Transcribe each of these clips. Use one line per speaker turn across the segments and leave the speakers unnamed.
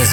Ez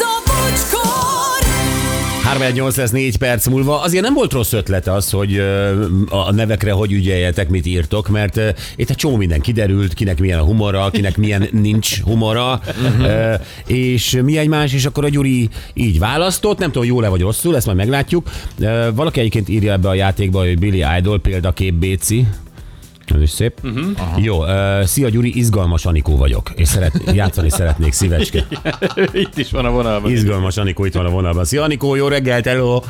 a bocskor!
3 lesz 4 perc múlva. Azért nem volt rossz ötlet az, hogy ö, a nevekre hogy ügyeljetek, mit írtok, mert ö, itt a csó minden kiderült, kinek milyen a humora, kinek milyen nincs humora, ö, és mi egymás, és akkor a Gyuri így választott, nem tudom, jól-e vagy rosszul, ezt majd meglátjuk. Ö, Valaki egyébként írja ebbe a játékba, hogy Billy Idol példakép Béci. Ez is szép. Uh-huh. Jó, uh, szia Gyuri, izgalmas Anikó vagyok, és szeret, játszani szeretnék, szívecske.
Itt is van a vonalban.
Izgalmas Anikó itt van a vonalban. Szia Anikó, jó reggelt, hello!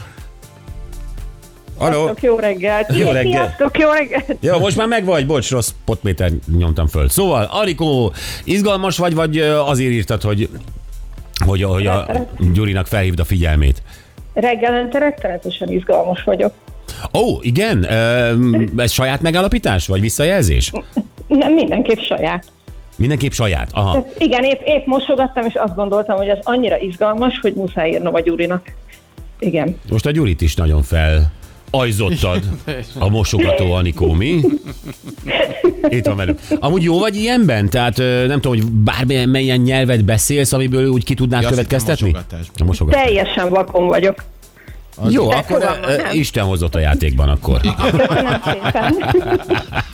Halló!
Sziasztok, jó reggelt!
Jó reggelt.
Sziasztok, jó reggelt!
Jó, most már meg vagy, bocs, rossz potméter nyomtam föl. Szóval, Anikó, izgalmas vagy, vagy ö, azért írtad, hogy hogy, hogy a Gyurinak felhívd a figyelmét.
Reggelente rettenetesen izgalmas vagyok.
Ó, igen? Ö, Ez saját megállapítás, vagy visszajelzés?
Nem, mindenképp saját.
Mindenképp saját. Aha.
Tehát igen, épp, épp mosogattam, és azt gondoltam, hogy az annyira izgalmas, hogy muszáj írnom a Gyurinak. Igen.
Most a Gyurit is nagyon fel ajzottad a mosogató Anikó, mi? Itt van velünk. Amúgy jó vagy ilyenben? Tehát ö, nem tudom, hogy bármilyen milyen nyelvet beszélsz, amiből úgy ki tudnál
Ja, azt hittem
következtetni?
mosogatásban.
A mosogatás.
Teljesen vakon vagyok.
Jó,
De
akkor
fogalmam
ö,
nem.
Isten hozott a játékban akkor.
Köszönöm szépen.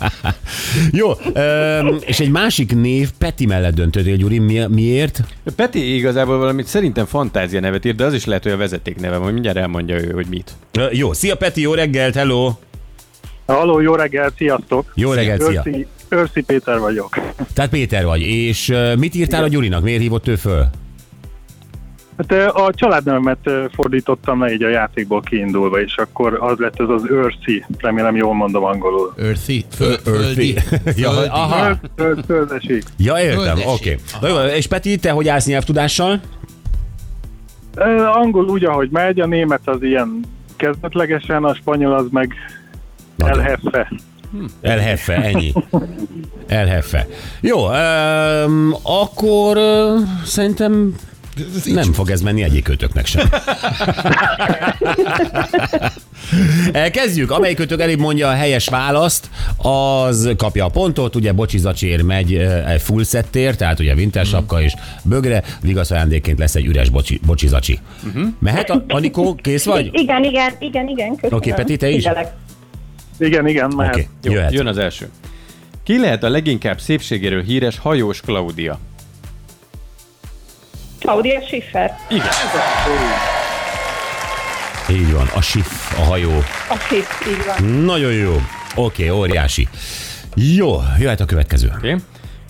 Jó, öm, és egy másik név, Peti mellett döntöttél, Gyuri, mi, miért?
Peti igazából valamit szerintem fantázia nevet ír, de az is lehet, hogy a vezeték neve, majd mindjárt elmondja ő, hogy mit.
Ö, Jó, szia Peti, jó reggelt, hello!
Halló, jó reggelt, sziasztok!
Jó reggelt, szia!
Őrszi, Őrszi Péter vagyok.
Tehát Péter vagy, és ö, mit írtál a Gyurinak, miért hívott ő föl?
Hát ö, a családnevemet ö, fordítottam le így a játékból kiindulva, és akkor az lett ez az őrszi, remélem jól mondom angolul.
Earthy. Föl, földi.
Ja,
Földi.
aha,
Föld- föld- Földesik.
ja értem,
Földesi.
oké. Okay. Na jó, és Peti, te hogy állsz nyelvtudással?
Ö, Angol úgy, ahogy megy, a német az ilyen kezdetlegesen, a spanyol az meg
Nagyon.
elheffe.
Elheffe, ennyi. Elheffe. Jó, öm, akkor ö, szerintem nem fog ez menni egyikőtöknek sem. Eh, Kezdjük. Amelyikőtök elébb mondja a helyes választ, az kapja a pontot. Ugye bocsizacsér megy eh, egy full szettér, tehát ugye winter sapka és bögre, vigasz ajándékként lesz egy üres bocsi, bocsizacsi. Mehet, a- Anikó, kész vagy? Oké,
Igen, igen, igen, igen, köszönöm.
Oké, Peti, te is?
Figyelek.
Igen, igen, mehet.
okay,
Jó,
jöhet.
jön az első. Ki lehet a leginkább szépségéről híres hajós Klaudia?
Claudia Schiffer,
Így van, a sif, a hajó.
a Schiff, így van.
Nagyon jó. Oké, óriási. Jó, jöhet a következő.
Oké. Okay.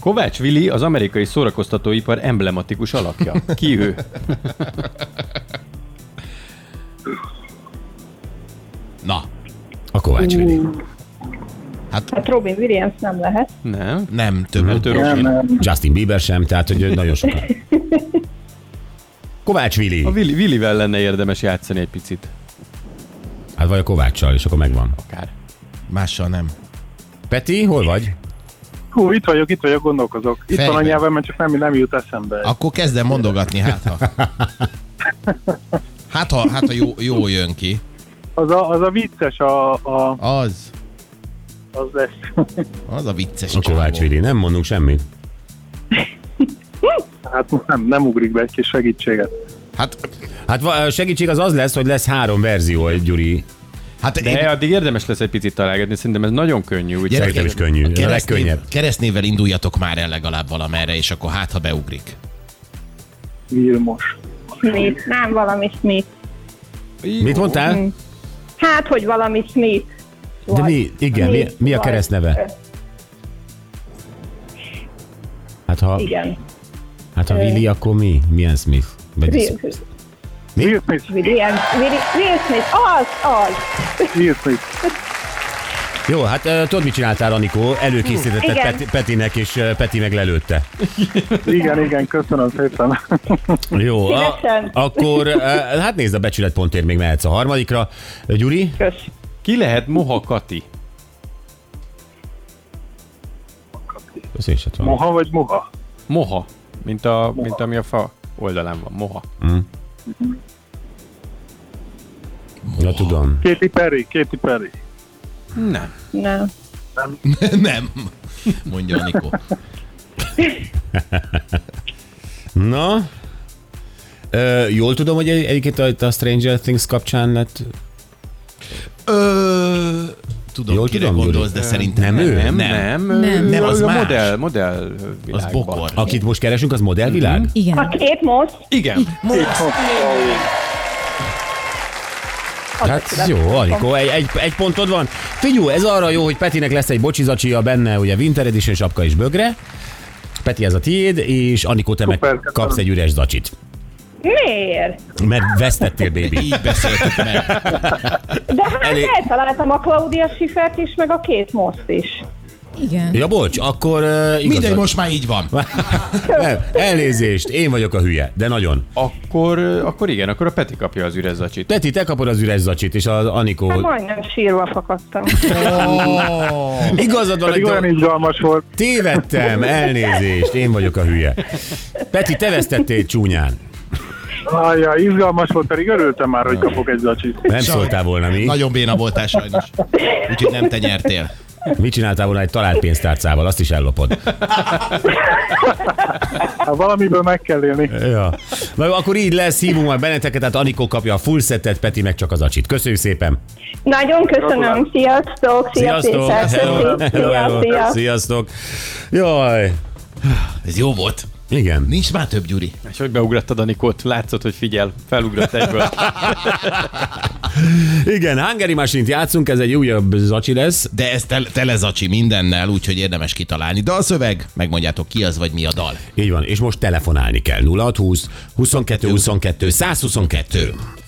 Kovács Vili az amerikai szórakoztatóipar emblematikus alakja. Ki ő?
Na,
A Kovács Vili.
hát
Hát Robin Williams nem lehet.
Nem.
nem több.
Ő Robi.
Justin Bieber sem, tehát hogy nagyon sokan. Kovács Vili.
A Vili, Vilivel lenne érdemes játszani egy picit.
Hát vagy a Kovácssal, és akkor megvan.
Akár.
Mással nem.
Peti, hol vagy?
Hú, itt vagyok, itt vagyok, gondolkozok. Itt van
Fejben.
a nyelvem, mert csak nem, nem jut eszembe.
Akkor kezdem mondogatni, hát ha. Hát ha, hát ha jó, jó jön ki.
Az a, az a vicces, a, a,
Az,
az lesz.
az a vicces
A Kovács
csávó.
Vili. Nem mondunk semmit.
Hát most nem, nem ugrik be egy kis segítséget.
Hát,
Hát va- segítség az az lesz, hogy lesz három verzió egy Gyuri.
hát
De
én,
addig érdemes lesz egy picit találgatni, szerintem ez nagyon könnyű. Úgy
Gyerekek,
Szerintem is könnyű. Ez a legkönnyebb.
keresztnév, keresztnévvel induljatok már el legalább valamerre, és akkor hát ha beugrik.
Vilmos.
Smith, nem valami Smith.
Mit mondtál?
Hát, hogy valami Smith.
De
Vagy
mi, igen, mi,
Smith,
mi a
vagy-
keresztneve? Hát ha,
Igen.
hát ha Vili, akkor mi? Milyen Smith? Vagy
Will,
Will Smith,
Williams, Will, Will Smith, az, az.
Will Smith.
Jó, hát ö, tudod, mit csináltál, Anikó? Előkészítetted
Igen.
Peti, Petinek, és ö, Peti meg lelőtte.
Igen, igen, köszönöm szépen.
Jó, a,
Szívesen.
akkor ö, hát nézd, a becsületpontért még mehetsz a harmadikra. Ö, Gyuri?
Kösz.
Ki lehet Moha Kati?
Köszönöm, is ott van.
Moha vagy moha?
Moha, mint, a, mint ami a fa oldalán van. Moha.
Ja, tudom.
Kéti Perry, Kéti Perry.
Nem.
Nem.
Nem, mondja Anikó.
Na, Ö, jól tudom, hogy egy- egyébként a- itt a Stranger Things kapcsán hát, lett.
Ö,
Jól
tudom, Jól kire
tudom, Gyuri?
gondolsz, de szerintem
nem ő?
Nem,
Nem, nem.
nem.
Nem.
Nem, az
a
más.
modell, modell
Az
világban.
bokor.
Akit most keresünk, az modellvilág? Mm-hmm.
A
Igen.
két most,
Igen.
Hát jó, Anikó, egy, egy, egy pontod van. Figyú, ez arra jó, hogy Petinek lesz egy bocsizacsia benne, ugye Winter Edition sapka és bögre. Peti, ez a tiéd, és Anikó, te meg
Szuper, köszönöm.
kapsz egy üres zacsit.
miért?
Mert vesztettél, baby.
Így beszéltük meg.
De hát
Elég-
Elég... eltaláltam a Claudia Schifert is, meg a két most is.
Igen.
Ja, bocs, akkor uh,
Mindegy,
igazad.
most már így van.
Nem, elnézést, én vagyok a hülye, de nagyon.
Akkor, akkor igen, akkor a Peti kapja az üres zacsit.
Peti, te kapod az üres zacsit, és az Anikó...
Hát majdnem sírva fakadtam.
Igazad van,
Pedig olyan
hogy
izgalmas volt.
tévedtem, elnézést, én vagyok a hülye. Peti, te vesztettél csúnyán.
Ajja, izgalmas volt, pedig örültem már, hogy kapok egy zacsit.
Nem szóltál volna mi.
Nagyon béna voltál sajnos. Úgyhogy nem te nyertél.
Mit csináltál volna egy talált pénztárcával, azt is ellopod.
Hát valamiből meg kell élni.
Ja. Na jó, akkor így lesz, hívunk már benneteket, tehát Anikó kapja a full setet, Peti meg csak az acsit. Köszönjük szépen!
Nagyon köszönöm, sziasztok, szia
Sziasztok!
Péter,
Hello,
köszi,
hello,
szia,
hello.
szia.
Sziasztok! Jaj,
Ez jó volt.
igen.
Nincs már több, Gyuri.
És hogy beugrattad Anikót, látszott, hogy figyel, felugrott egyből.
Igen, Hungary Machine-t játszunk, ez egy újabb zacsi lesz.
De ez tel- telezacsi mindennel, úgyhogy érdemes kitalálni. Dalszöveg, megmondjátok ki az, vagy mi a dal.
Így van, és most telefonálni kell. 0620 22 22 122.